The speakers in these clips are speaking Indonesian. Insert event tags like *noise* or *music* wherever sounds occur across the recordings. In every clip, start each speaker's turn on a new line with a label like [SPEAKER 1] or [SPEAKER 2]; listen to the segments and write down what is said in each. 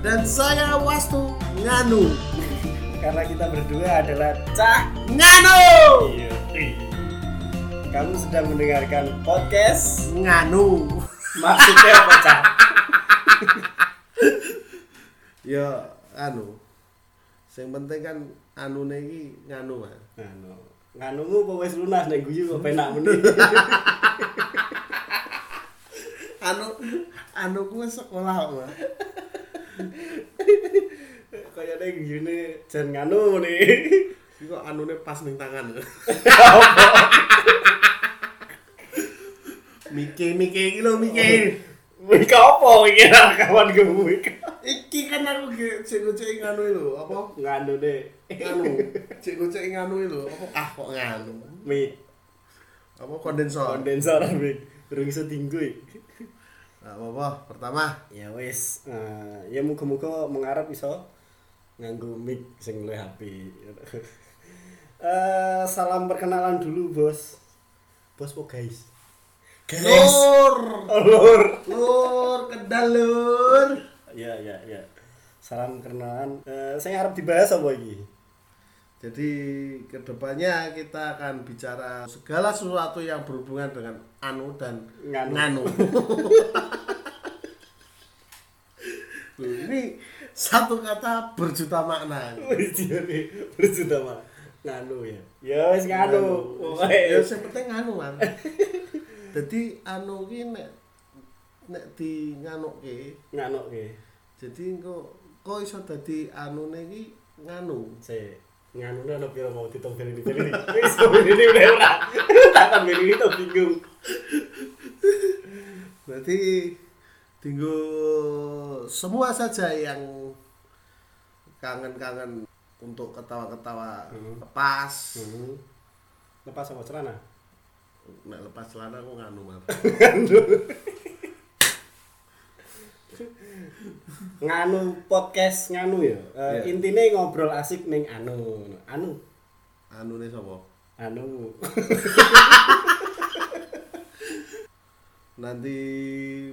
[SPEAKER 1] dan saya Wastu Nganu.
[SPEAKER 2] Karena kita berdua adalah Cah
[SPEAKER 1] Nganu.
[SPEAKER 2] Kamu sedang mendengarkan podcast
[SPEAKER 1] Nganu.
[SPEAKER 2] Maksudnya apa Cah?
[SPEAKER 1] Ya anu. Yang penting kan anu iki nganu Mas.
[SPEAKER 2] Nganu Nganumu apa wis lunas nek guyu kok penak meni
[SPEAKER 1] Anu anu ku wis sekolah Mas.
[SPEAKER 2] Kayane guyune jan nganu meni
[SPEAKER 1] Iki kok anune pas ning tangan. Mike Mike iki lho Mike.
[SPEAKER 2] Wika apa iki kawan gue
[SPEAKER 1] Iki kan aku ge- sing ngucek nganu lho apa
[SPEAKER 2] Nganu deh
[SPEAKER 1] *laughs* nganu cek ngucek nganu lho apa ah kok nganu
[SPEAKER 2] Mi
[SPEAKER 1] apa kondensor
[SPEAKER 2] kondensor mi Rung iso tinggu
[SPEAKER 1] nah, apa apa pertama
[SPEAKER 2] Ya wis eh, Ya muga-muga mengarep iso Nganggu mic sing luwih HP *laughs* Eh, Salam perkenalan dulu bos Bos po guys Oh,
[SPEAKER 1] lur
[SPEAKER 2] Alur
[SPEAKER 1] lur kedal lur
[SPEAKER 2] Ya ya ya Salam perkenalan Eh, Saya harap dibahas apa iki?
[SPEAKER 1] jadi kedepannya kita akan bicara segala sesuatu yang berhubungan dengan anu dan *laughs* nganu.
[SPEAKER 2] Nganu.
[SPEAKER 1] Loh, ini satu kata berjuta *laughs* makna
[SPEAKER 2] Wis jare berjuta mah Nganu ya Ya wis nganu iya.
[SPEAKER 1] Ya
[SPEAKER 2] Wes.
[SPEAKER 1] sing penting anu,
[SPEAKER 2] *laughs*
[SPEAKER 1] Man. Dadi anu ki nek nek di nganuke,
[SPEAKER 2] Nganu ke
[SPEAKER 1] jadi engko kok iso dadi anune ki nganu.
[SPEAKER 2] Saya nganu ana pira mau ditompel ini ini. Wis ini udah ora. *laughs* Takon ini tuh bingung.
[SPEAKER 1] Berarti tinggu semua saja yang kangen-kangen untuk ketawa-ketawa
[SPEAKER 2] Hmm.
[SPEAKER 1] lepas. Hmm.
[SPEAKER 2] Lepas sama celana.
[SPEAKER 1] Nek lepas celana kok nganu, Man.
[SPEAKER 2] Nganu podcast nganu ya.
[SPEAKER 1] Iya.
[SPEAKER 2] Eh, Intine ngobrol asik ning anu. Anu.
[SPEAKER 1] *laughs* Anune sapa?
[SPEAKER 2] Anu. *laughs*
[SPEAKER 1] Nanti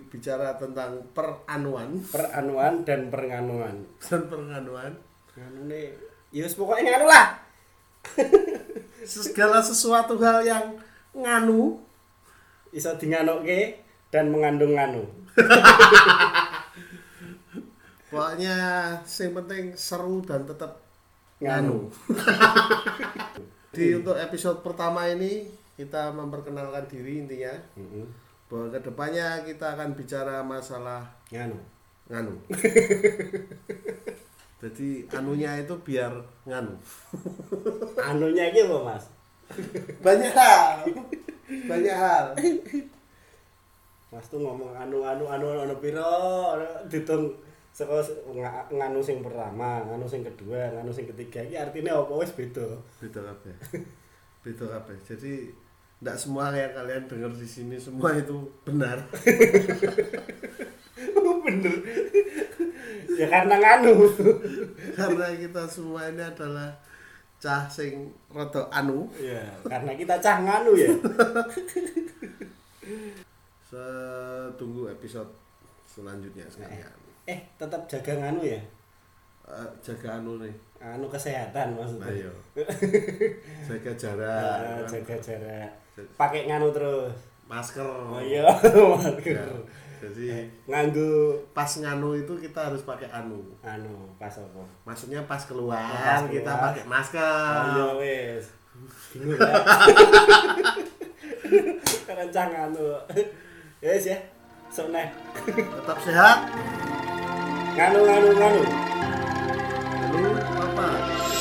[SPEAKER 1] bicara tentang *laughs* peranuan
[SPEAKER 2] Peranuan dan perenganuan.
[SPEAKER 1] dan penganuan.
[SPEAKER 2] Nganune ya wis pokoke nganu lah.
[SPEAKER 1] segala sesuatu hal yang nganu
[SPEAKER 2] Iso dinganokke dan mengandung nganu.
[SPEAKER 1] pokoknya yang penting seru dan tetap
[SPEAKER 2] Nganu.
[SPEAKER 1] nganu *laughs* di untuk episode pertama ini kita memperkenalkan diri intinya
[SPEAKER 2] Mm-mm.
[SPEAKER 1] bahwa kedepannya kita akan bicara masalah
[SPEAKER 2] Nganu.
[SPEAKER 1] *laughs* nganu jadi anunya itu biar nganu
[SPEAKER 2] Anunya iki apa, Mas?
[SPEAKER 1] banyak hal Eh, banyak hal
[SPEAKER 2] Mas tuh ngomong anu anu anu anu piro anu ditung saka s- nga- nganu sing pertama, nganu sing kedua, nganu sing ketiga iki artine apa wis beda.
[SPEAKER 1] beda *laughs* kabeh beda kabeh jadi tidak semua yang kalian dengar di sini semua itu benar *laughs*
[SPEAKER 2] *laughs* Bener. ya karena nganu.
[SPEAKER 1] karena kita semua ini adalah cah sing rada anu
[SPEAKER 2] ya, karena kita cah nganu ya.
[SPEAKER 1] setunggu episode selanjutnya sekalian
[SPEAKER 2] Eh, tetap jaga nganu ya.
[SPEAKER 1] Eh, jaga anu nih
[SPEAKER 2] Anu kesehatan maksudnya. *laughs*
[SPEAKER 1] ayo Nah, jaga
[SPEAKER 2] Ah,
[SPEAKER 1] jarak
[SPEAKER 2] jaga jarak. Pakai nganu terus.
[SPEAKER 1] masker
[SPEAKER 2] Oh iya,
[SPEAKER 1] Ya,
[SPEAKER 2] *laughs* mager.
[SPEAKER 1] jadi
[SPEAKER 2] Nganggu
[SPEAKER 1] pas nganu itu kita harus pakai anu
[SPEAKER 2] anu pas apa?
[SPEAKER 1] maksudnya pas keluar
[SPEAKER 2] Pas keluar. Oh,
[SPEAKER 1] kita pakai masker
[SPEAKER 2] Ayo wis. Bingung ya. Rencangan tuh. Ya wis ya. Sok neh. iya.
[SPEAKER 1] tetap sehat
[SPEAKER 2] Nganu nganu nganu.
[SPEAKER 1] lalu apa